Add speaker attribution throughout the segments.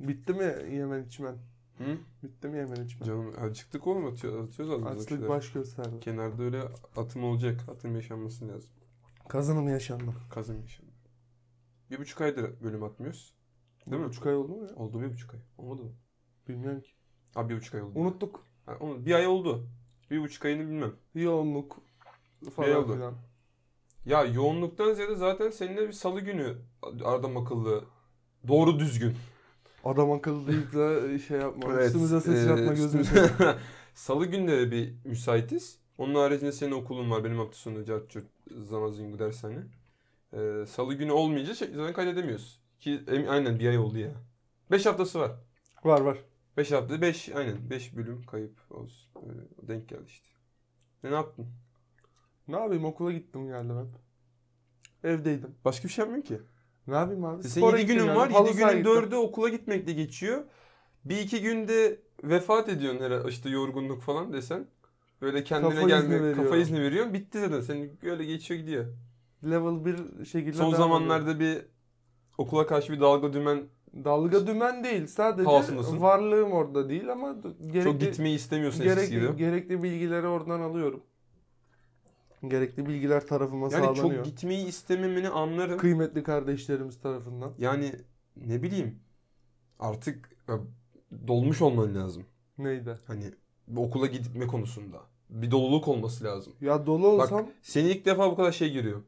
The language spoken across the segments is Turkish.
Speaker 1: Bitti mi yemen içmen?
Speaker 2: Hı?
Speaker 1: Bitti mi yemen içmen?
Speaker 2: Canım acıktık oğlum atıyor, atıyoruz az buçuk
Speaker 1: Açlık
Speaker 2: şeyler.
Speaker 1: baş gösterdi.
Speaker 2: Kenarda öyle atım olacak. Atım yaşanması lazım.
Speaker 1: Kazanım yaşandı.
Speaker 2: Kazım yaşandı. Bir buçuk aydır bölüm atmıyoruz. Değil mi?
Speaker 1: Buçuk ay oldu mu ya?
Speaker 2: Oldu bir buçuk ay. Olmadı mı?
Speaker 1: Bilmiyorum ki.
Speaker 2: Abi bir buçuk ay oldu.
Speaker 1: Unuttuk.
Speaker 2: Ha, onu, bir ay oldu. Bir buçuk ayını bilmem.
Speaker 1: Yoğunluk falan
Speaker 2: Şey oldu?
Speaker 1: filan.
Speaker 2: Ya yoğunluktan ziyade zaten seninle bir salı günü adam akıllı. Doğru düzgün.
Speaker 1: Adam akıllı değil de şey yapma.
Speaker 2: Evet,
Speaker 1: Üstümüze ses
Speaker 2: e,
Speaker 1: yapma gözümüze.
Speaker 2: üstümüze- salı günleri bir müsaitiz. Onun haricinde senin okulun var. Benim hafta sonu Cartçurt Zamazingu dershane. Ee, salı günü olmayınca şey, zaten kaydedemiyoruz. Ki em- aynen bir ay oldu ya. Beş haftası var.
Speaker 1: Var var.
Speaker 2: Beş hafta, beş aynen. Beş bölüm kayıp olsun. Böyle denk geldi işte. E, Ne, ne yaptın?
Speaker 1: Ne yapayım okula gittim geldim hep. Evdeydim.
Speaker 2: Başka bir şey yapmıyorsun ki.
Speaker 1: Ne yapayım abi?
Speaker 2: Senin yedi
Speaker 1: gittim
Speaker 2: günün
Speaker 1: geldim,
Speaker 2: var.
Speaker 1: halı
Speaker 2: Yedi
Speaker 1: sahaya
Speaker 2: günün
Speaker 1: gittim.
Speaker 2: dördü okula gitmekle geçiyor. Bir iki günde vefat ediyorsun herhalde işte yorgunluk falan desen. Böyle kendine
Speaker 1: Kafa izni
Speaker 2: gelme,
Speaker 1: veriyor.
Speaker 2: kafa izni veriyorsun. Bitti zaten. Senin böyle geçiyor gidiyor.
Speaker 1: Level 1 şekilde
Speaker 2: Son
Speaker 1: devam ediyorum.
Speaker 2: zamanlarda bir okula karşı bir dalga dümen
Speaker 1: Dalga dümen değil. Sadece
Speaker 2: Havasındasın.
Speaker 1: varlığım orada değil ama gerekli,
Speaker 2: çok gitmeyi istemiyorsun eskisi gibi.
Speaker 1: gerekli, gerekli bilgileri oradan alıyorum. Gerekli bilgiler tarafıma
Speaker 2: Yani
Speaker 1: sağlanıyor.
Speaker 2: çok gitmeyi istememini anlarım.
Speaker 1: Kıymetli kardeşlerimiz tarafından.
Speaker 2: Yani ne bileyim artık ya, dolmuş olman lazım.
Speaker 1: Neydi?
Speaker 2: Hani bu okula gitme konusunda. Bir doluluk olması lazım.
Speaker 1: Ya dolu
Speaker 2: Bak,
Speaker 1: olsam
Speaker 2: Seni ilk defa bu kadar şey görüyor.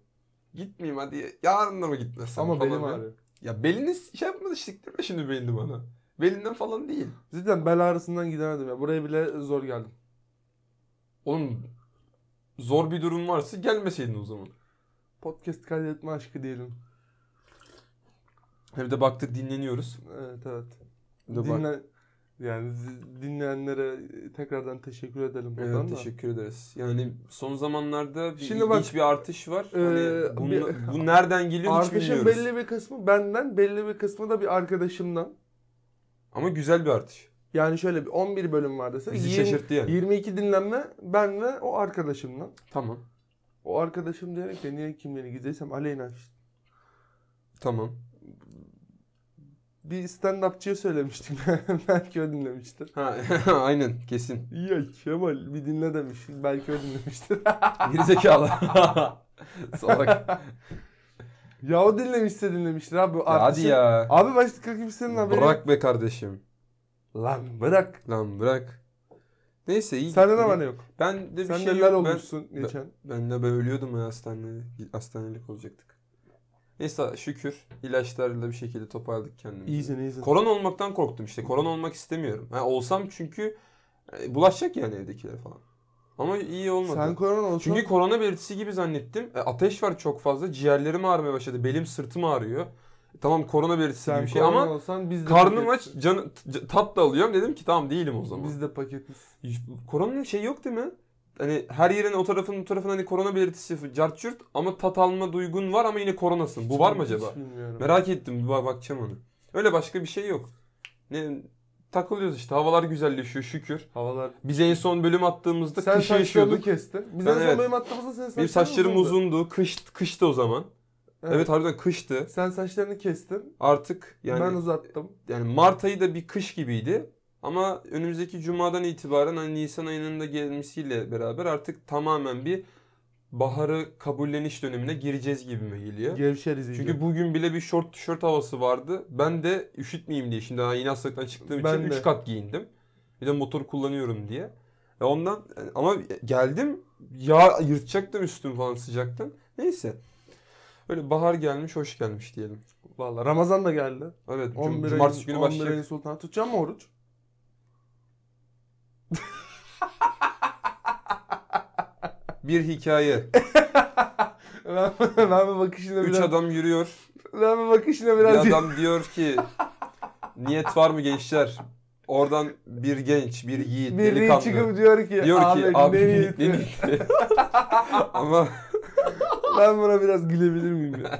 Speaker 2: Gitmeyeyim hadi yarın da mı gitmesem
Speaker 1: ama
Speaker 2: falan
Speaker 1: benim
Speaker 2: ya.
Speaker 1: ağrıyor.
Speaker 2: Ya belini şey yapmadı siktirme şimdi belini bana. Belinden falan değil.
Speaker 1: Zaten bel ağrısından gidemedim ya. Buraya bile zor geldim.
Speaker 2: Oğlum zor bir durum varsa gelmeseydin o zaman.
Speaker 1: Podcast kaydetme aşkı diyelim.
Speaker 2: Evde baktık dinleniyoruz.
Speaker 1: Evet evet.
Speaker 2: Bir de bak-
Speaker 1: Dinle, yani z- dinleyenlere tekrardan teşekkür edelim
Speaker 2: Evet,
Speaker 1: buradan da.
Speaker 2: teşekkür ederiz. Yani son zamanlarda bir
Speaker 1: Şimdi
Speaker 2: ilginç
Speaker 1: bak,
Speaker 2: bir artış var. Hani
Speaker 1: eee,
Speaker 2: bunla-
Speaker 1: bir-
Speaker 2: bu nereden geliyor hiç
Speaker 1: Artışın
Speaker 2: şey bilmiyoruz.
Speaker 1: şey belli bir kısmı benden, belli bir kısmı da bir arkadaşımdan.
Speaker 2: Ama güzel bir artış.
Speaker 1: Yani şöyle bir 11 bölüm var dese
Speaker 2: Bizi
Speaker 1: 20
Speaker 2: şaşırttı yani.
Speaker 1: 22 dinlenme ben ve o arkadaşımdan.
Speaker 2: Tamam.
Speaker 1: O arkadaşım diyerek de niye kimliğini gizleysem Aleyna işte.
Speaker 2: Tamam.
Speaker 1: Bir stand-upçıya söylemiştim. Belki o dinlemiştir.
Speaker 2: Ha, aynen kesin.
Speaker 1: Ya Kemal bir dinle demiş. Belki o dinlemiştir.
Speaker 2: Gerizekalı. Salak.
Speaker 1: ya o dinlemişse dinlemiştir abi.
Speaker 2: Ya hadi ya.
Speaker 1: Abi başka kimsenin haberi. yok.
Speaker 2: Bırak be kardeşim.
Speaker 1: Lan bırak.
Speaker 2: Lan bırak. Neyse iyi.
Speaker 1: Sende ne
Speaker 2: gitti.
Speaker 1: var ne yok.
Speaker 2: Ben de bir
Speaker 1: Sen
Speaker 2: şey
Speaker 1: neler
Speaker 2: yok. Ben,
Speaker 1: olmuşsun geçen.
Speaker 2: ben de ben ölüyordum ya hastanede. Hastanelik olacaktık. Neyse şükür ilaçlarla bir şekilde toparladık kendimizi.
Speaker 1: İyisin iyisin.
Speaker 2: Korona olmaktan korktum işte. Korona olmak istemiyorum. Ha, olsam çünkü e, bulaşacak yani evdekiler falan. Ama iyi olmadı.
Speaker 1: Sen korona olsan
Speaker 2: çünkü korona belirtisi gibi zannettim. E, ateş var çok fazla. Ciğerlerim ağrımaya başladı. Belim sırtım ağrıyor. E, tamam korona belirtisi
Speaker 1: sen
Speaker 2: gibi bir şey
Speaker 1: korona
Speaker 2: ama
Speaker 1: olsan biz de
Speaker 2: karnım aç
Speaker 1: paketiz.
Speaker 2: can, c- tat da alıyorum. Dedim ki tamam değilim o zaman.
Speaker 1: Biz de paketiz.
Speaker 2: Koronanın şey yok değil mi? Hani her yerin o tarafın bu tarafın hani korona belirtisi cart curt ama tat alma duygun var ama yine koronasın. Bu var mı
Speaker 1: Hiç
Speaker 2: acaba?
Speaker 1: bilmiyorum.
Speaker 2: Merak ettim. Bir bak bakacağım ona. Öyle başka bir şey yok. Ne takılıyoruz işte. Havalar güzelleşiyor şükür.
Speaker 1: Havalar.
Speaker 2: Biz en son bölüm attığımızda
Speaker 1: Sen
Speaker 2: kışı
Speaker 1: saçlarını
Speaker 2: yaşıyorduk.
Speaker 1: kestin. Biz
Speaker 2: şey Ben
Speaker 1: en son
Speaker 2: evet.
Speaker 1: benim attığımızda senin saçların
Speaker 2: Benim saçlarım
Speaker 1: uzundu.
Speaker 2: uzundu. Kış kıştı o zaman. Evet, harbiden kıştı.
Speaker 1: Sen saçlarını kestin.
Speaker 2: Artık yani
Speaker 1: ben uzattım.
Speaker 2: yani Mart ayı da bir kış gibiydi. Ama önümüzdeki cumadan itibaren hani Nisan ayının da gelmesiyle beraber artık tamamen bir baharı kabulleniş dönemine gireceğiz gibime geliyor.
Speaker 1: Gevşeriz iyice.
Speaker 2: Çünkü bugün bile bir şort tişört havası vardı. Ben de üşütmeyeyim diye şimdi daha yeni hastalıktan çıktığım
Speaker 1: Ben
Speaker 2: için
Speaker 1: de.
Speaker 2: 3 kat giyindim. Bir de motor kullanıyorum diye. E ondan ama geldim ya yırtacaktım üstüm falan sıcaktan. Neyse. Öyle bahar gelmiş, hoş gelmiş diyelim.
Speaker 1: Valla Ramazan da geldi.
Speaker 2: Evet, cum-
Speaker 1: 11
Speaker 2: cumartesi günü başlayacak.
Speaker 1: ayın sultanı. Tutacak mı oruç?
Speaker 2: Bir hikaye.
Speaker 1: Ben, ben bir bakışına
Speaker 2: Üç
Speaker 1: biraz...
Speaker 2: adam yürüyor.
Speaker 1: Ben bir bakışına biraz...
Speaker 2: Bir adam diyor ki niyet var mı gençler? Oradan bir genç, bir yiğit,
Speaker 1: Bir
Speaker 2: delikanlı.
Speaker 1: çıkıp diyor ki,
Speaker 2: diyor
Speaker 1: Ahmet,
Speaker 2: ki abi
Speaker 1: ne
Speaker 2: niyet,
Speaker 1: niyeti?"
Speaker 2: ne niyeti?" Ama
Speaker 1: Ben buna biraz gülebilir miyim ya?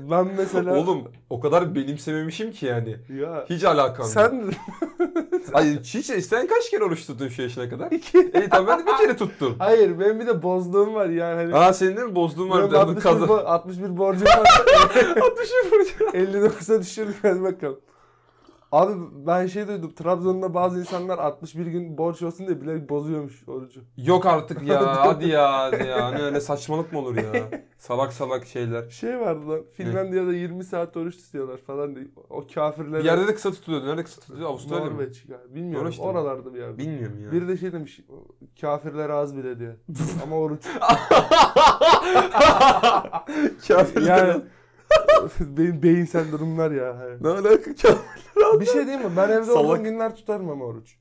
Speaker 1: ben mesela...
Speaker 2: oğlum o kadar benimsememişim ki yani.
Speaker 1: Ya,
Speaker 2: Hiç alakam yok.
Speaker 1: sen
Speaker 2: Ay hiç sen kaç kere oruç tuttun şu yaşına kadar?
Speaker 1: İki.
Speaker 2: İyi tamam ben de bir kere tuttum.
Speaker 1: Hayır benim bir de bozduğum var yani. Hani
Speaker 2: Aa senin de mi bozduğun var?
Speaker 1: Benim
Speaker 2: bir tane?
Speaker 1: 61,
Speaker 2: Kaza-
Speaker 1: bo- 61 borcum var.
Speaker 2: Atmışım buraya.
Speaker 1: 59'a düşürdük hadi bakalım. Abi ben şey duydum. Trabzon'da bazı insanlar 61 gün borç olsun diye bilerek bozuyormuş orucu.
Speaker 2: Yok artık ya hadi ya hadi ya. Hani öyle saçmalık mı olur ya? Salak salak şeyler.
Speaker 1: Şey vardı lan. Finlandiya'da 20 saat oruç tutuyorlar falan diye. O kafirlere...
Speaker 2: Bir yerde de kısa tutuyordu. Nerede kısa tutuyordu? Avustralya mı?
Speaker 1: Norveç galiba. Bilmiyorum.
Speaker 2: Norveç'te mi?
Speaker 1: Oralarda bir yerde.
Speaker 2: Bilmiyorum ya.
Speaker 1: Biri de şey demiş. Kafirlere az bile diye. Ama oruç. yani beyin, beyinsel durumlar ya. Hani.
Speaker 2: Ne alaka kafir?
Speaker 1: Bir şey diyeyim mi? Ben evde
Speaker 2: Salak.
Speaker 1: olduğum günler tutarım ama oruç.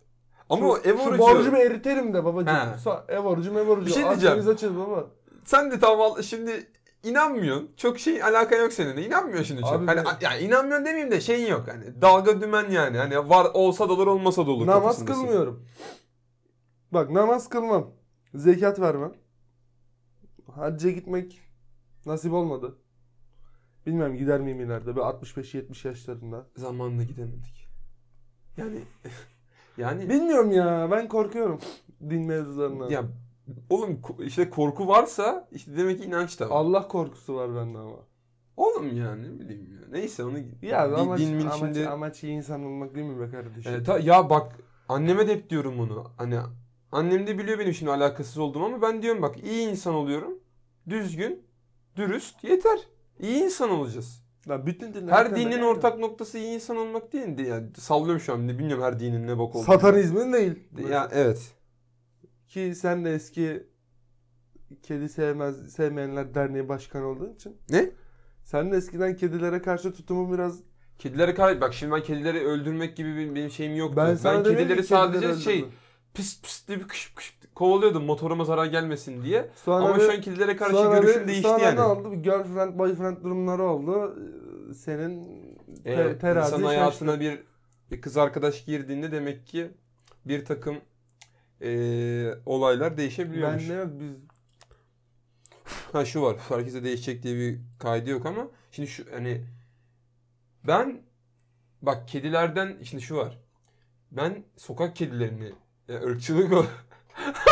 Speaker 2: Ama o ev
Speaker 1: Şu
Speaker 2: orucu.
Speaker 1: borcumu eriterim de babacığım.
Speaker 2: He.
Speaker 1: Sa- ev orucu ev orucu.
Speaker 2: Bir şey
Speaker 1: Aç
Speaker 2: diyeceğim.
Speaker 1: biz açız baba.
Speaker 2: Sen de tam val- şimdi inanmıyorsun. Çok şey alakan yok seninle. İnanmıyorsun şimdi çok.
Speaker 1: Abi
Speaker 2: hani
Speaker 1: ben-
Speaker 2: a- yani inanmıyorsun demeyeyim de şeyin yok. Hani dalga dümen yani. Hani var olsa da olur olmasa da olur.
Speaker 1: namaz
Speaker 2: kafasındasın.
Speaker 1: kılmıyorum. Bak namaz kılmam. Zekat vermem. Hacca gitmek nasip olmadı. Bilmem gider miyim ileride. Böyle 65-70 yaşlarında.
Speaker 2: Zamanında gidemedik. Yani yani
Speaker 1: Bilmiyorum ya. Ben korkuyorum din mevzularından.
Speaker 2: ya oğlum ko- işte korku varsa işte demek ki inanç da var.
Speaker 1: Allah korkusu var bende ama.
Speaker 2: Oğlum yani ne bileyim ya. Neyse onu
Speaker 1: Ya
Speaker 2: Di-
Speaker 1: amaç,
Speaker 2: din min
Speaker 1: amaç,
Speaker 2: şimdi
Speaker 1: amaç iyi insan olmak değil mi be kardeşim?
Speaker 2: E, ta- ya bak anneme de hep diyorum bunu. Hani annem de biliyor benim şimdi alakasız olduğumu ama ben diyorum bak iyi insan oluyorum. Düzgün, dürüst yeter. İyi insan olacağız.
Speaker 1: Lan bütün dinler
Speaker 2: Her
Speaker 1: temeli
Speaker 2: dinin
Speaker 1: aynı.
Speaker 2: ortak noktası iyi insan olmak değil. de- Yani sallıyorum şu an. Bilmiyorum her dinin ne bok olduğunu.
Speaker 1: Satanizmin değil.
Speaker 2: Ya evet.
Speaker 1: Ki sen de eski Kedi Sevmez Sevmeyenler Derneği Başkanı olduğun için.
Speaker 2: Ne?
Speaker 1: Sen de eskiden kedilere karşı tutumun biraz...
Speaker 2: Kedilere karşı bak şimdi ben kedileri öldürmek gibi bir- benim şeyim yoktu. Ben,
Speaker 1: sana demedim
Speaker 2: kedileri
Speaker 1: ki
Speaker 2: sadece
Speaker 1: kedileri
Speaker 2: şey
Speaker 1: öldürme.
Speaker 2: pıs pıs diye bir kışıp kışıp kovalıyordum motoruma zarar gelmesin diye.
Speaker 1: Sonra
Speaker 2: Ama
Speaker 1: bir-
Speaker 2: şu an kedilere karşı
Speaker 1: sonra bir-
Speaker 2: görüşüm değişti
Speaker 1: sonra
Speaker 2: yani.
Speaker 1: ne oldu? Bir girlfriend, boyfriend durumları oldu. Ee, Senin te-
Speaker 2: Evet,
Speaker 1: terazi
Speaker 2: Ee, insan
Speaker 1: şaştı.
Speaker 2: hayatına bir, bir kız arkadaş girdiğinde demek ki bir takım eee, olaylar değişebiliyormuş.
Speaker 1: Ben ne biz
Speaker 2: Ha şu var, herkese değişecek diye bir kaydı yok ama şimdi şu hani ben bak kedilerden şimdi şu var. Ben sokak kedilerini ya ırkçılık o.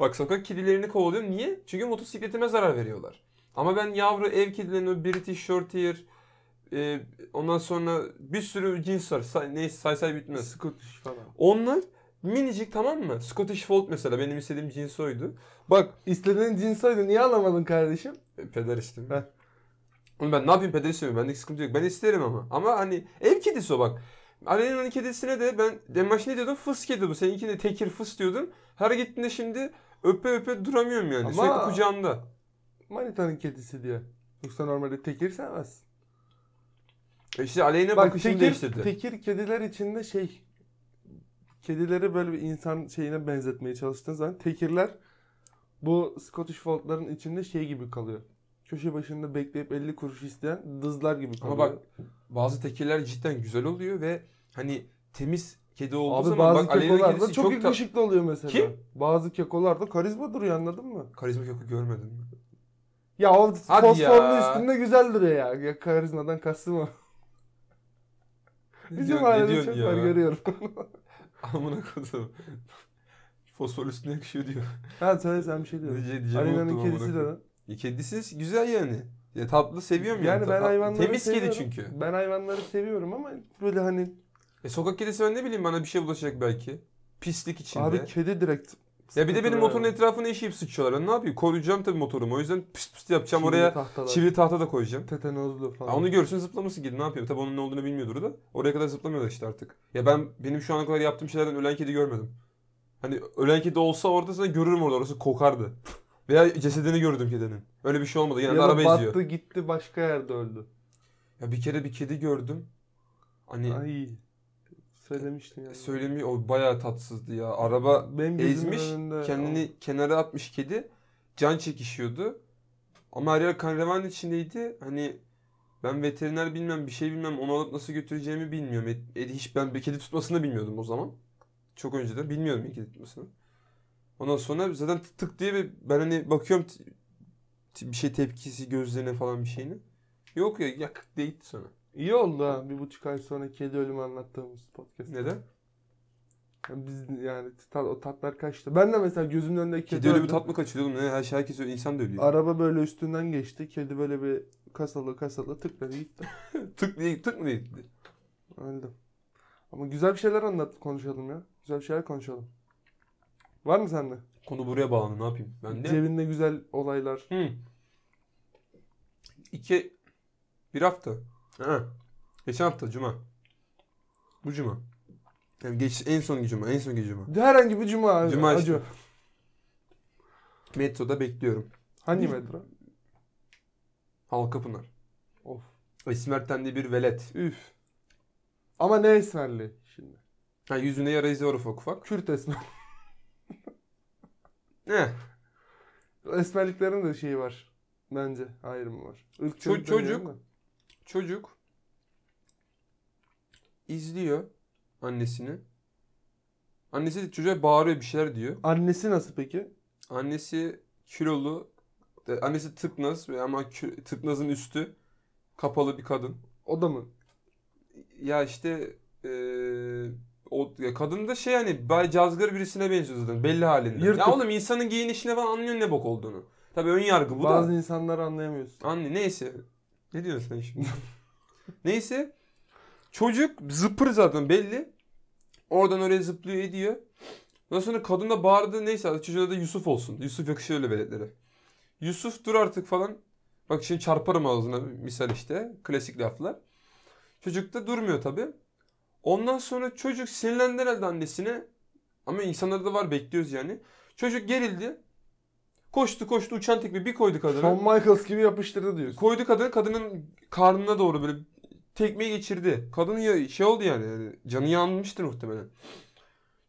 Speaker 2: Bak sokak kedilerini kovalıyorum. Niye? Çünkü motosikletime zarar veriyorlar. Ama ben yavru ev kedilerini o British Shorthair e, ondan sonra bir sürü cins var. Say, neyse say say bitmez.
Speaker 1: Scottish falan.
Speaker 2: Onlar minicik tamam mı? Scottish Fold mesela benim istediğim cins oydu. Bak
Speaker 1: İstediğin cins oydu. Niye alamadın kardeşim?
Speaker 2: e, Peder işte.
Speaker 1: Heh.
Speaker 2: Oğlum ben ne yapayım peder istemiyorum. Bende sıkıntı yok. Ben isterim ama. Ama hani ev kedisi o bak. Alena'nın kedisine de ben en başta ne diyordum? Fıs kedi bu. Seninkine de tekir fıs diyordum. Her gittiğinde şimdi öpe öpe duramıyorum yani.
Speaker 1: Ama-
Speaker 2: Sürekli kucağımda.
Speaker 1: Manitanın kedisi diye. Yoksa normalde tekir sevmez.
Speaker 2: E işte Aleyna
Speaker 1: Bak
Speaker 2: bakışını
Speaker 1: tekir,
Speaker 2: değiştirdi.
Speaker 1: tekir kediler içinde şey kedileri böyle bir insan şeyine benzetmeye çalıştığın zaman tekirler bu Scottish Fold'ların içinde şey gibi kalıyor. Köşe başında bekleyip 50 kuruş isteyen dızlar gibi kalıyor.
Speaker 2: Ama bak bazı tekirler cidden güzel oluyor ve hani temiz kedi olduğu
Speaker 1: Abi
Speaker 2: zaman
Speaker 1: bazı
Speaker 2: bak Aleyna
Speaker 1: kekolar da
Speaker 2: kedisi
Speaker 1: çok,
Speaker 2: çok, da
Speaker 1: yakışıklı oluyor mesela.
Speaker 2: Kim?
Speaker 1: Bazı kekolar da karizma duruyor anladın mı?
Speaker 2: karizma kökü görmedim.
Speaker 1: Ya o
Speaker 2: Hadi
Speaker 1: fosforlu
Speaker 2: ya.
Speaker 1: üstünde güzel duruyor ya. ya karizmadan kastım o.
Speaker 2: Ne
Speaker 1: Bizim
Speaker 2: diyorsun- ne
Speaker 1: ailede
Speaker 2: diyorsun
Speaker 1: çok
Speaker 2: ya?
Speaker 1: var görüyorum.
Speaker 2: Amına kodum. Fosfor üstüne yakışıyor diyor.
Speaker 1: ha söyle sen bir şey diyorsun.
Speaker 2: Diyeceğimi unuttum
Speaker 1: Arena'nın
Speaker 2: amına
Speaker 1: kedisi de
Speaker 2: koyayım.
Speaker 1: lan.
Speaker 2: E, Kedisi güzel yani. Ya tatlı seviyorum
Speaker 1: Yani ben
Speaker 2: Tat-
Speaker 1: hayvanları
Speaker 2: Temiz
Speaker 1: seviyorum.
Speaker 2: kedi çünkü.
Speaker 1: Ben hayvanları seviyorum ama böyle hani
Speaker 2: E sokak kedisi ben ne bileyim bana bir şey bulaşacak belki. Pislik içinde.
Speaker 1: abi kedi direkt.
Speaker 2: ya bir de benim
Speaker 1: sıkıntılı
Speaker 2: motorun
Speaker 1: yani.
Speaker 2: etrafını eşeyip sıçıyorlar. Ben ne yapayım? Koruyacağım tabii motorumu. O yüzden pıst pıst yapacağım
Speaker 1: Çivili
Speaker 2: oraya.
Speaker 1: tahtalar,
Speaker 2: Çivili tahta da koyacağım.
Speaker 1: tetanozlu falan.
Speaker 2: Ha, onu görsün zıplaması gibi ne yapıyor? Tabii onun ne olduğunu bilmiyordur da. Oraya kadar zıplamıyorlar işte artık. Ya ben benim şu ana kadar yaptığım şeylerden ölen kedi görmedim. Hani ölen kedi olsa orada sana görürüm orada. Orası kokardı. Veya cesedini gördüm kedinin. Öyle bir şey olmadı.
Speaker 1: ya
Speaker 2: Genelde
Speaker 1: da
Speaker 2: araba
Speaker 1: battı
Speaker 2: eziyor.
Speaker 1: gitti başka yerde öldü.
Speaker 2: Ya bir kere bir kedi gördüm. Hani
Speaker 1: Ay. Söylemiştim yani.
Speaker 2: söylemi o bayağı tatsızdı ya. Araba
Speaker 1: Benim gözümün
Speaker 2: ezmiş,
Speaker 1: önünde-
Speaker 2: kendini kenara atmış kedi. Can çekişiyordu. Ama her yer kan revan içindeydi. Hani ben veteriner bilmem, bir şey bilmem, onu alıp nasıl götüreceğimi bilmiyorum. Et- et- hiç ben bir kedi tutmasını bilmiyordum o zaman. Çok önceden bilmiyordum kedi tutmasını. Ondan sonra zaten tık tık diye bir- ben hani bakıyorum t- t- bir şey tepkisi gözlerine falan bir şeyini. Yok ya yak diye gitti sonra.
Speaker 1: İyi oldu ha. Bir buçuk ay sonra kedi ölümü anlattığımız podcast.
Speaker 2: Neden?
Speaker 1: Yani biz yani tat- o tatlar kaçtı. Ben de mesela gözümün önünde
Speaker 2: Kedi
Speaker 1: kedi
Speaker 2: öyle
Speaker 1: öldü.
Speaker 2: bir tat mı kaçırıyor oğlum? Ne? Her şey herkes öyle. insan da ölüyor.
Speaker 1: Araba böyle üstünden geçti. Kedi böyle bir kasalı kasalı tıkladı gitti.
Speaker 2: tık diye tık mı diye gitti?
Speaker 1: Öldüm. Ama güzel bir şeyler anlat konuşalım ya. Güzel bir şeyler konuşalım. Var mı sende?
Speaker 2: Konu buraya bağlı ne yapayım? Ben de.
Speaker 1: Cebinde güzel olaylar.
Speaker 2: Hı. İki, bir hafta. Ha. Geçen hafta cuma. Bu cuma. Yani geç, en son cuma, en son cuma.
Speaker 1: Herhangi bir cuma.
Speaker 2: Cuma
Speaker 1: acı.
Speaker 2: işte. Metroda bekliyorum.
Speaker 1: Hangi
Speaker 2: Bir-
Speaker 1: metro?
Speaker 2: Halka Pınar.
Speaker 1: Of.
Speaker 2: Esmerten diye bir velet.
Speaker 1: Üf. Ama ne esmerli şimdi?
Speaker 2: Ha, yüzünde yara izi var ufak ufak.
Speaker 1: Kürt esmer.
Speaker 2: Eh,
Speaker 1: Esmerliklerin de şeyi var. Bence ayrımı var. Irkçılık
Speaker 2: çocuk-
Speaker 1: demeyelim de.
Speaker 2: çocuk izliyor annesini. Annesi de çocuğa bağırıyor bir şeyler diyor.
Speaker 1: Annesi nasıl peki?
Speaker 2: Annesi kilolu. e, Annesi tıknaz ve ama kü- tıknazın üstü kapalı bir kadın.
Speaker 1: O da mı?
Speaker 2: Ya işte eee, o ya kadın da şey hani bay cazgır birisine benziyor zaten belli halinde.
Speaker 1: Yırtık.
Speaker 2: Ya oğlum insanın giyinişine falan anlıyorsun ne bok olduğunu. Tabii ön yargı bu
Speaker 1: Bazı
Speaker 2: da.
Speaker 1: insanları anlayamıyorsun.
Speaker 2: Anne neyse. Ne diyorsun sen şimdi? neyse. Çocuk zıpır zaten belli. Oradan oraya zıplıyor ediyor. Ondan sonra kadın da bağırdı neyse çocuğa da Yusuf olsun. Yusuf yakışıyor öyle veletlere. Yusuf dur artık falan. Bak şimdi çarparım ağzına misal işte. Klasik laflar. Çocuk da durmuyor tabii. Ondan sonra çocuk sinirlendi herhalde annesine. Ama insanlarda da var bekliyoruz yani. Çocuk gerildi. Koştu koştu uçan tekme bir koydu kadına.
Speaker 1: Shawn Michaels gibi yapıştırdı diyorsun.
Speaker 2: Koydu kadını kadının karnına doğru böyle tekmeyi geçirdi. Kadın ya- şey oldu yani, yani canı yanmıştır muhtemelen.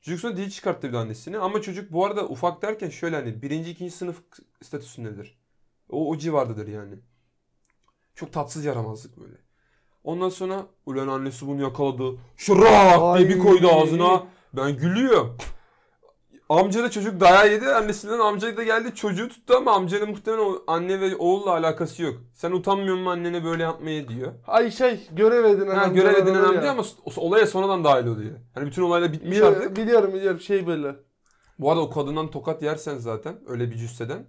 Speaker 2: Çocuk sonra dil çıkarttı bir de annesini. Ama çocuk bu arada ufak derken şöyle hani birinci ikinci sınıf statüsündedir. O, o civardadır yani. Çok tatsız yaramazlık böyle. Ondan sonra ulan annesi bunu yakaladı. Şırak diye bir koydu
Speaker 1: Ay.
Speaker 2: ağzına. Ben gülüyorum. Amca da çocuk dayağı yedi. Annesinden amca da geldi. Çocuğu tuttu ama amcanın muhtemelen o- anne ve oğulla alakası yok. Sen utanmıyor musun annene böyle yapmaya diyor.
Speaker 1: Ay şey görev edinen
Speaker 2: Ha,
Speaker 1: amcalar
Speaker 2: görev edinen
Speaker 1: oluyor
Speaker 2: amca
Speaker 1: ya.
Speaker 2: ama o- olaya sonradan dahil oluyor. Hani bütün olayla bitmiş
Speaker 1: Biliyorum,
Speaker 2: artık.
Speaker 1: biliyorum biliyorum şey böyle.
Speaker 2: Bu arada o kadından tokat yersen zaten öyle bir cüsseden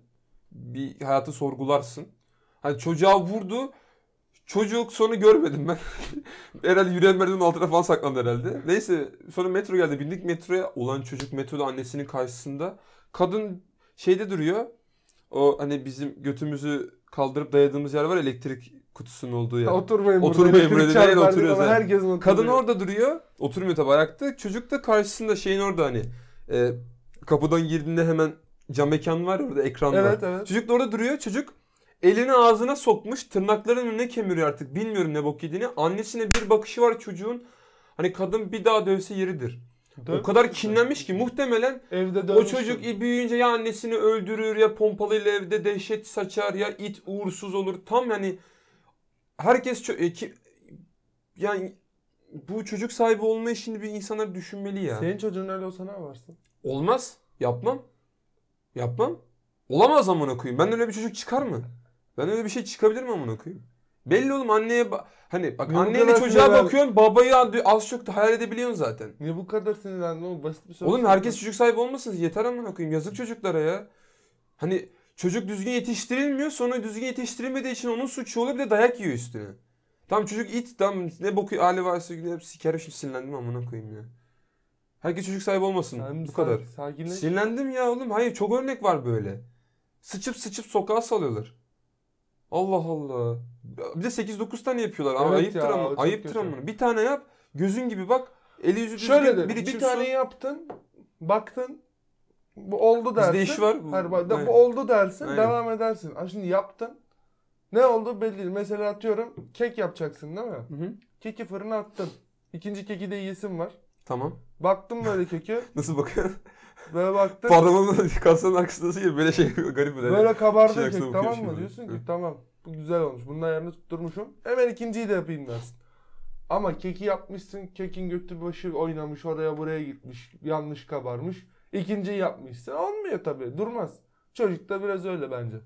Speaker 2: bir hayatı sorgularsın. Hani çocuğa vurdu. Çocuk sonu görmedim ben. herhalde yürüyen merdivenin altına falan saklandı herhalde. Neyse sonra metro geldi. Bindik metroya. Ulan çocuk metroda annesinin karşısında. Kadın şeyde duruyor. O hani bizim götümüzü kaldırıp dayadığımız yer var elektrik kutusunun olduğu yer.
Speaker 1: Oturmayın burada.
Speaker 2: Oturmayın
Speaker 1: elektrik
Speaker 2: burada,
Speaker 1: çarpar
Speaker 2: nereye
Speaker 1: diye
Speaker 2: oturuyoruz
Speaker 1: ama
Speaker 2: ha?
Speaker 1: Herkesin oturuyor.
Speaker 2: Kadın orada duruyor. Oturmuyor tabii ayakta. Çocuk da karşısında şeyin orada hani e, kapıdan girdiğinde hemen cam mekan var ya orada ekranda.
Speaker 1: Evet evet.
Speaker 2: Çocuk da orada duruyor. Çocuk elini ağzına sokmuş. Tırnaklarının önüne kemiriyor artık. Bilmiyorum ne bok yediğini. Annesine bir bakışı var çocuğun. Hani kadın bir daha dövse yeridir. O kadar kinlenmiş ki muhtemelen
Speaker 1: Evde
Speaker 2: o
Speaker 1: dönmüş.
Speaker 2: çocuk büyüyünce ya annesini öldürür ya pompalıyla evde dehşet saçar ya it uğursuz olur. Tam yani herkes çö- e, ki- yani bu çocuk sahibi olma işini bir insanlar düşünmeli ya.
Speaker 1: Senin çocuğun öyle olsa ne yaparsın?
Speaker 2: Olmaz. Yapmam. Yapmam. Olamaz amına koyayım. Ben öyle bir çocuk çıkar mı? Ben öyle bir şey çıkabilir mi amına koyayım? Belli oğlum anneye ba- hani bak
Speaker 1: Yok,
Speaker 2: anneyle
Speaker 1: ben
Speaker 2: çocuğa
Speaker 1: sinirlendim.
Speaker 2: bakıyorsun babayı az çok da hayal edebiliyorsun zaten.
Speaker 1: Niye bu kadar sinirlendin oğlum? Basit bir soru.
Speaker 2: Oğlum
Speaker 1: sordum.
Speaker 2: herkes çocuk sahibi olmasın. Yeter amına koyayım. Yazık çocuklara ya. Hani çocuk düzgün yetiştirilmiyor. Sonra düzgün yetiştirilmediği için onun suçu oluyor. Bir de dayak yiyor üstüne. Tam çocuk it. Tam ne boku hali varsa güne sikerim şimdi sinirlendim amına koyayım ya. Herkes çocuk sahibi olmasın.
Speaker 1: Sen bir
Speaker 2: Bu kadar. Şey,
Speaker 1: sak- Sakinleş.
Speaker 2: Sinirlendim ya oğlum. Hayır çok örnek var böyle. Sıçıp sıçıp sokağa salıyorlar. Allah Allah. Bir de 8-9 tane yapıyorlar. ama
Speaker 1: Evet
Speaker 2: ayıptır
Speaker 1: ya,
Speaker 2: ama.
Speaker 1: o çok
Speaker 2: Ayıptır
Speaker 1: kötü.
Speaker 2: ama. Bir tane yap. Gözün gibi bak. Eli yüzü düzgün.
Speaker 1: Şöyle de
Speaker 2: bir,
Speaker 1: bir,
Speaker 2: içim su.
Speaker 1: tane yaptın, baktın, bu oldu dersin.
Speaker 2: Bizde iş var.
Speaker 1: Hayır, bak, da-
Speaker 2: Aynen.
Speaker 1: bu oldu dersin,
Speaker 2: Aynen.
Speaker 1: devam edersin. Ama şimdi yaptın, ne oldu belli değil. Mesela atıyorum kek yapacaksın değil mi?
Speaker 2: Hı hı.
Speaker 1: Keki fırına attın. İkinci keki de yiyesin var.
Speaker 2: Tamam.
Speaker 1: Baktım böyle keki,
Speaker 2: Nasıl bakıyorsun?
Speaker 1: böyle baktın,
Speaker 2: Parmağımın kasanın arkasında nasıl gibi böyle şey garip böyle.
Speaker 1: böyle
Speaker 2: Şey
Speaker 1: kabardı kek
Speaker 2: yoksa
Speaker 1: tamam
Speaker 2: bakıyorsun
Speaker 1: mı?
Speaker 2: böyle.
Speaker 1: Diyorsun ki
Speaker 2: Hı.
Speaker 1: tamam, bu güzel olmuş, bunun ayarını tutturmuşum. Hemen ikinciyi de yapayım dersin. Ama keki yapmışsın, kekin götü başı oynamış, oraya buraya gitmiş, yanlış kabarmış. İkinciyi yapmışsın, olmuyor tabii, durmaz. Çocuk da biraz öyle bence.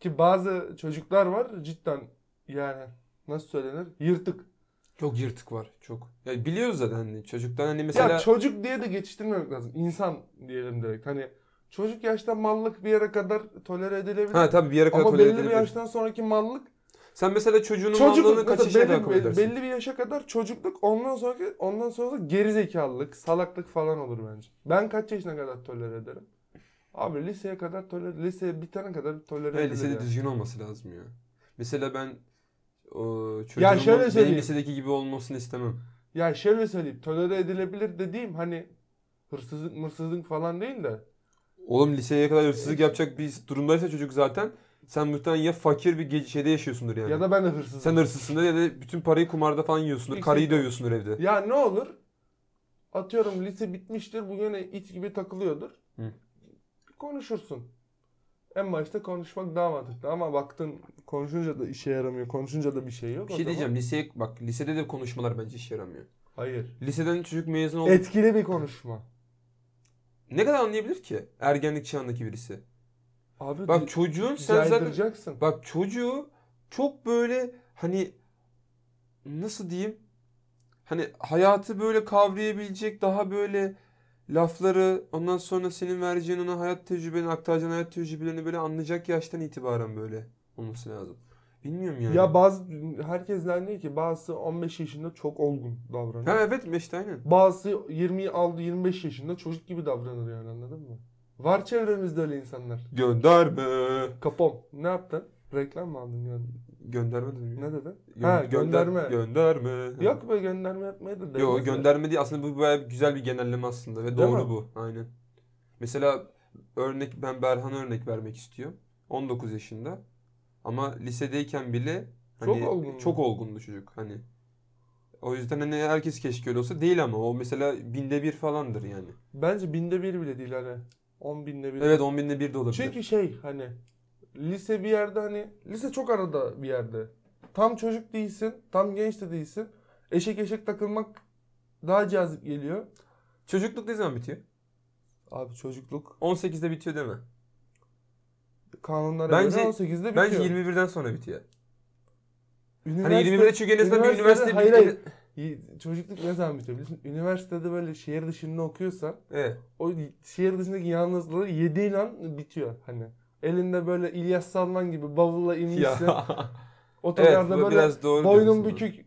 Speaker 1: Ki bazı çocuklar var cidden yani nasıl söylenir? Yırtık.
Speaker 2: Çok yırtık var. Çok. Ya biliyoruz zaten hani çocuktan hani mesela
Speaker 1: Ya çocuk diye de geçiştirmemek lazım. İnsan diyelim direkt. Hani çocuk yaşta mallık bir yere kadar tolere edilebilir.
Speaker 2: ha tabii bir yere kadar
Speaker 1: Ama
Speaker 2: tolere
Speaker 1: belli bir
Speaker 2: edilebilir.
Speaker 1: yaştan sonraki mallık
Speaker 2: Sen mesela çocuğunun mallığını
Speaker 1: çocukluk
Speaker 2: kaç yaşına
Speaker 1: mesela
Speaker 2: kadar kabul
Speaker 1: belli, belli,
Speaker 2: edersin?
Speaker 1: belli bir yaşa kadar çocukluk ondan sonraki ondan sonra gerizekalılık, salaklık falan olur bence. Ben kaç yaşına kadar tolere ederim? Abi liseye kadar tolere, liseye bitene kadar tolere
Speaker 2: Evet,
Speaker 1: edilir.
Speaker 2: lisede
Speaker 1: yani.
Speaker 2: düzgün olması lazım ya. Mesela ben o, çocuğumun
Speaker 1: Ya şöyle
Speaker 2: benim
Speaker 1: söyleyeyim.
Speaker 2: lisedeki gibi olmasını istemem.
Speaker 1: Ya şöyle söyleyeyim, tolere edilebilir dediğim hani hırsızlık, mırsızlık falan değil de
Speaker 2: Oğlum liseye kadar hırsızlık yapacak bir durumdaysa çocuk zaten sen muhtemelen ya fakir bir ge- şeyde yaşıyorsundur yani.
Speaker 1: ya da ben de hırsızım.
Speaker 2: Sen hırsızsın da ya da bütün parayı kumarda falan yiyorsundur.
Speaker 1: Yüksek-
Speaker 2: Karıyı dövüyorsundur evde.
Speaker 1: Ya ne olur? Atıyorum lise bitmiştir. Bu gene it gibi takılıyordur.
Speaker 2: Hı.
Speaker 1: Konuşursun. En başta konuşmak daha mantıklı ama baktın konuşunca da işe yaramıyor. Konuşunca da bir şey yok.
Speaker 2: Bir
Speaker 1: o
Speaker 2: şey
Speaker 1: zaman-
Speaker 2: diyeceğim liseye bak lisede de konuşmalar bence işe yaramıyor.
Speaker 1: Hayır.
Speaker 2: Liseden çocuk mezun oldu.
Speaker 1: Etkili bir konuşma.
Speaker 2: Ne kadar anlayabilir ki ergenlik çağındaki birisi?
Speaker 1: Abi
Speaker 2: Bak
Speaker 1: Bak,
Speaker 2: çocuğun sen zaten
Speaker 1: caydıracaksın.
Speaker 2: Bak çocuğu çok böyle hani nasıl diyeyim? Hani hayatı böyle kavrayabilecek daha böyle lafları ondan sonra senin vereceğin ona hayat tecrübeni aktaracağın hayat tecrübelerini böyle anlayacak yaştan itibaren böyle olması lazım. Bilmiyorum yani.
Speaker 1: Ya bazı herkes diyor ki bazısı 15 yaşında çok olgun davranıyor.
Speaker 2: ha evet işte aynen.
Speaker 1: Bazısı 20'yi aldı 25 yaşında çocuk gibi davranır yani anladın mı? Var çevremizde öyle insanlar.
Speaker 2: Gönderme.
Speaker 1: Kapom. Ne yaptın? Reklam mı aldın yani?
Speaker 2: Gönderme dedim. ya.
Speaker 1: Ne dedi?
Speaker 2: Gö-
Speaker 1: Ha
Speaker 2: gönder-
Speaker 1: gönderme.
Speaker 2: Gönderme.
Speaker 1: Yok be gönderme yapmaya da
Speaker 2: Yo
Speaker 1: değmez
Speaker 2: gönderme değil aslında bu bayağı güzel bir genelleme aslında ve
Speaker 1: Değil
Speaker 2: doğru
Speaker 1: mi?
Speaker 2: bu aynen. Mesela örnek ben Berhan'a örnek vermek istiyorum. 19 yaşında ama lisedeyken bile hani
Speaker 1: Çok olgundu.
Speaker 2: çok olgundu çocuk hani. O yüzden hani herkes keşke öyle olsa değil ama o mesela binde bir falandır yani.
Speaker 1: ya. Bence binde bir bile değil hani. On binde bir.
Speaker 2: Evet on binde bir de olabilir.
Speaker 1: Çünkü şey hani lise bir yerde hani lise çok arada bir yerde. Tam çocuk değilsin, tam genç de değilsin. Eşek eşek takılmak daha cazip geliyor.
Speaker 2: Çocukluk ne zaman bitiyor?
Speaker 1: Abi çocukluk
Speaker 2: 18'de bitiyor deme.
Speaker 1: kanunlara
Speaker 2: Bence-
Speaker 1: göre 18'de bitiyor.
Speaker 2: Bence 21'den sonra bitiyor.
Speaker 1: Üniversite-
Speaker 2: Hani 21'de çünkü en azından bir
Speaker 1: üniversitede-
Speaker 2: üniversite
Speaker 1: hayır,
Speaker 2: bir-
Speaker 1: hayır. Y- Çocukluk ne zaman bitiyor biliyorsun? Üniversitede böyle şehir dışında okuyorsan
Speaker 2: Evet.
Speaker 1: o şehir dışındaki yalnızlığı yediğin an bitiyor hani. Elinde böyle İlyas Salman gibi bavulla
Speaker 2: Ya.
Speaker 1: inmişsin.
Speaker 2: evet
Speaker 1: Otogarda
Speaker 2: bu
Speaker 1: böyle
Speaker 2: biraz doğru
Speaker 1: boynun
Speaker 2: diyorsun.
Speaker 1: bükük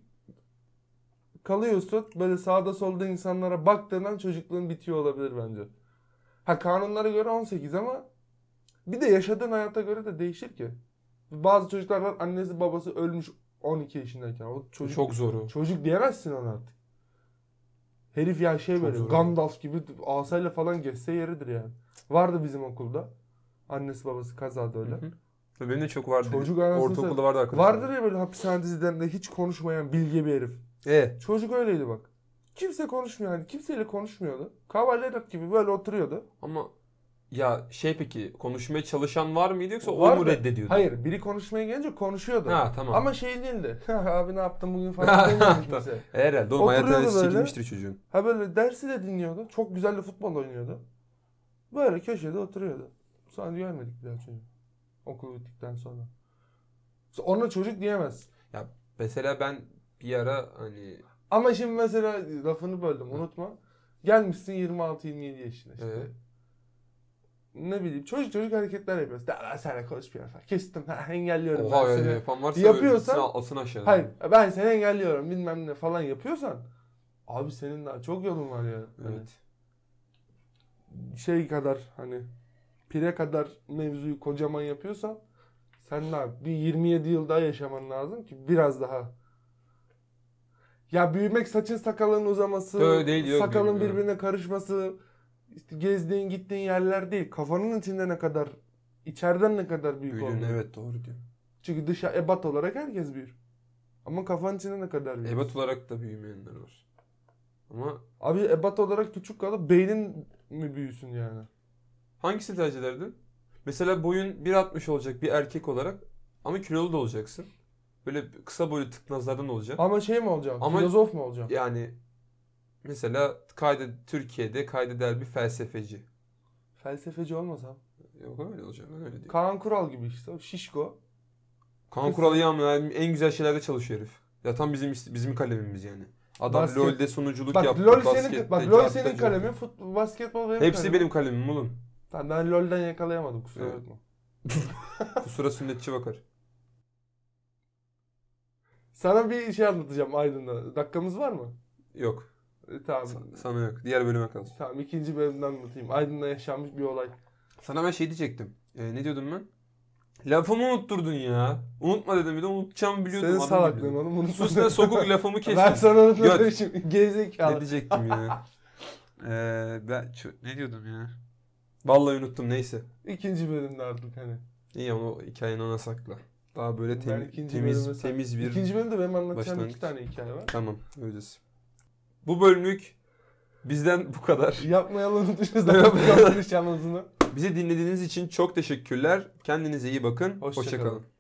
Speaker 1: kalıyorsun. Böyle sağda solda insanlara baktığın an çocukluğun bitiyor olabilir bence. Ha kanunlara göre 18 ama bir de yaşadığın hayata göre de değişir ki. Bazı çocuklar var annesi babası ölmüş 12 yaşındayken. O çocuk
Speaker 2: Çok zoru.
Speaker 1: Çocuk diyemezsin ona artık. Herif ya şey
Speaker 2: Çok
Speaker 1: böyle
Speaker 2: zor.
Speaker 1: Gandalf gibi asayla falan geçse yeridir yani. Vardı bizim okulda. Annesi babası kazada öyle.
Speaker 2: Hı hı. Ya Benim de çok vardı.
Speaker 1: Çocuk anasını
Speaker 2: Ortaokulda
Speaker 1: satayım.
Speaker 2: vardı arkadaşlar.
Speaker 1: Vardır ya böyle hapishane dizilerinde hiç konuşmayan bilge bir herif.
Speaker 2: E.
Speaker 1: Çocuk öyleydi bak. Kimse konuşmuyor hani kimseyle konuşmuyordu. Kavalerik gibi böyle oturuyordu.
Speaker 2: Ama ya şey peki konuşmaya çalışan var mıydı yoksa o
Speaker 1: Vardı.
Speaker 2: mu reddediyordu?
Speaker 1: Hayır biri konuşmaya gelince konuşuyordu.
Speaker 2: Ha tamam.
Speaker 1: Ama şey değildi. "Ha, Abi ne yaptın bugün falan demiyordu kimse.
Speaker 2: E, Herhalde oğlum hayat
Speaker 1: Oturuyordu
Speaker 2: enerjisi
Speaker 1: böyle.
Speaker 2: çekilmiştir çocuğun.
Speaker 1: Ha böyle dersi de dinliyordu. Çok güzel de futbol oynuyordu. Böyle köşede oturuyordu. Sonra görmedik bir daha çocuğu. Okul bittikten sonra. İşte Ona çocuk diyemez.
Speaker 2: Mesela ben bir ara hani
Speaker 1: Ama şimdi mesela lafını böldüm unutma. Gelmişsin 26-27 yaşına işte.
Speaker 2: Evet.
Speaker 1: Ne bileyim çocuk çocuk hareketler yapıyorsun. Daha ben seninle konuşmuyorum. Kestim. Ha, engelliyorum
Speaker 2: oha
Speaker 1: ben
Speaker 2: öyle
Speaker 1: seni.
Speaker 2: yapan varsa
Speaker 1: Yapıyorsan-
Speaker 2: öyle gitsin, atlasın aşağıya.
Speaker 1: Hayır ben seni engelliyorum bilmem ne falan yapıyorsan. Abi senin daha çok yolun var ya. Hani
Speaker 2: Evet.
Speaker 1: şey kadar hani pire kadar mevzuyu kocaman yapıyorsan sen ne yap? Bir 27 yıl daha yaşaman lazım ki biraz daha. Ya büyümek saçın sakalın uzaması,
Speaker 2: Öyle değil, yok,
Speaker 1: sakalın
Speaker 2: bilmiyorum.
Speaker 1: birbirine karışması, işte gezdiğin gittiğin yerler değil. Kafanın içinde ne kadar, içeriden ne kadar büyük
Speaker 2: Büyüdüğün
Speaker 1: olduğu.
Speaker 2: evet doğru diyor.
Speaker 1: Çünkü dışa ebat olarak herkes büyür. Ama kafanın içinde ne kadar büyük.
Speaker 2: Ebat olarak da büyümeyenler var. Ama
Speaker 1: Abi ebat olarak küçük kalıp beynin mi büyüsün yani?
Speaker 2: hangisini tercih ederdin? Mesela boyun 1.60 olacak bir erkek olarak ama kilolu da olacaksın. Böyle kısa boylu tıknazlardan olacak.
Speaker 1: Ama şey mi olacaksın?
Speaker 2: Ama-
Speaker 1: Filozof mu olacaksın?
Speaker 2: Yani mesela kayda Türkiye'de kaydeder bir felsefeci.
Speaker 1: Felsefeci olmasam.
Speaker 2: Yok öyle olacak ben öyle diyorum.
Speaker 1: Kaan Kural gibi işte. Şişko.
Speaker 2: Kaan Kural iyi ama yani en güzel şeylerde çalışıyor herif. Ya tam bizim ist- bizim kalemimiz yani. Adam
Speaker 1: Basket.
Speaker 2: LoL'de sunuculuk
Speaker 1: Bak
Speaker 2: yaptı.
Speaker 1: LoL senin,
Speaker 2: baskette,
Speaker 1: bak, LoL
Speaker 2: cartta,
Speaker 1: senin kalemin, futbol, basketbol benim
Speaker 2: Hepsi
Speaker 1: kalemim.
Speaker 2: benim kalemim oğlum.
Speaker 1: Tamam, ben LoL'den yakalayamadım kusura
Speaker 2: Evet.
Speaker 1: bakma.
Speaker 2: Kusura sünnetçi bakar.
Speaker 1: Sana bir şey anlatacağım Aydın'da. Dakikamız var mı?
Speaker 2: Yok.
Speaker 1: E, tamam.
Speaker 2: sa- Sana yok. Diğer bölüme kalsın.
Speaker 1: Tamam ikinci bölümden anlatayım. Aydın'da yaşanmış bir olay.
Speaker 2: Sana ben şey diyecektim. Ee, ne diyordum ben? Lafımı unutturdun ya. Unutma dedim bir de unutacağımı biliyordum.
Speaker 1: Senin
Speaker 2: adam
Speaker 1: salaklığın
Speaker 2: biliyordum.
Speaker 1: oğlum. Bunu
Speaker 2: Sus ne sokuk lafımı
Speaker 1: Ben
Speaker 2: kestin.
Speaker 1: sana unutmadım
Speaker 2: Göt.
Speaker 1: şimdi.
Speaker 2: Ne
Speaker 1: Gerizekalı.
Speaker 2: diyecektim ya? Ee, ben şu- ne diyordum ya? Vallahi unuttum neyse.
Speaker 1: İkinci bölümde artık hani.
Speaker 2: İyi ama o hikayeni ona sakla. Daha böyle tem-
Speaker 1: Ben ikinci bölüme
Speaker 2: temiz
Speaker 1: sakla-
Speaker 2: temiz bir
Speaker 1: İkinci bölümde benim anlatacağım
Speaker 2: başlangıç.
Speaker 1: iki tane hikaye var.
Speaker 2: Tamam, öyleyiz. Bu bölümlük bizden bu kadar.
Speaker 1: Yapmayalım unutmuşuz.
Speaker 2: Evet.
Speaker 1: Yapmayalım unutmuşuz.
Speaker 2: Bizi dinlediğiniz için çok teşekkürler. Kendinize iyi bakın.
Speaker 1: Hoşça
Speaker 2: Hoşçakalın.
Speaker 1: kalın.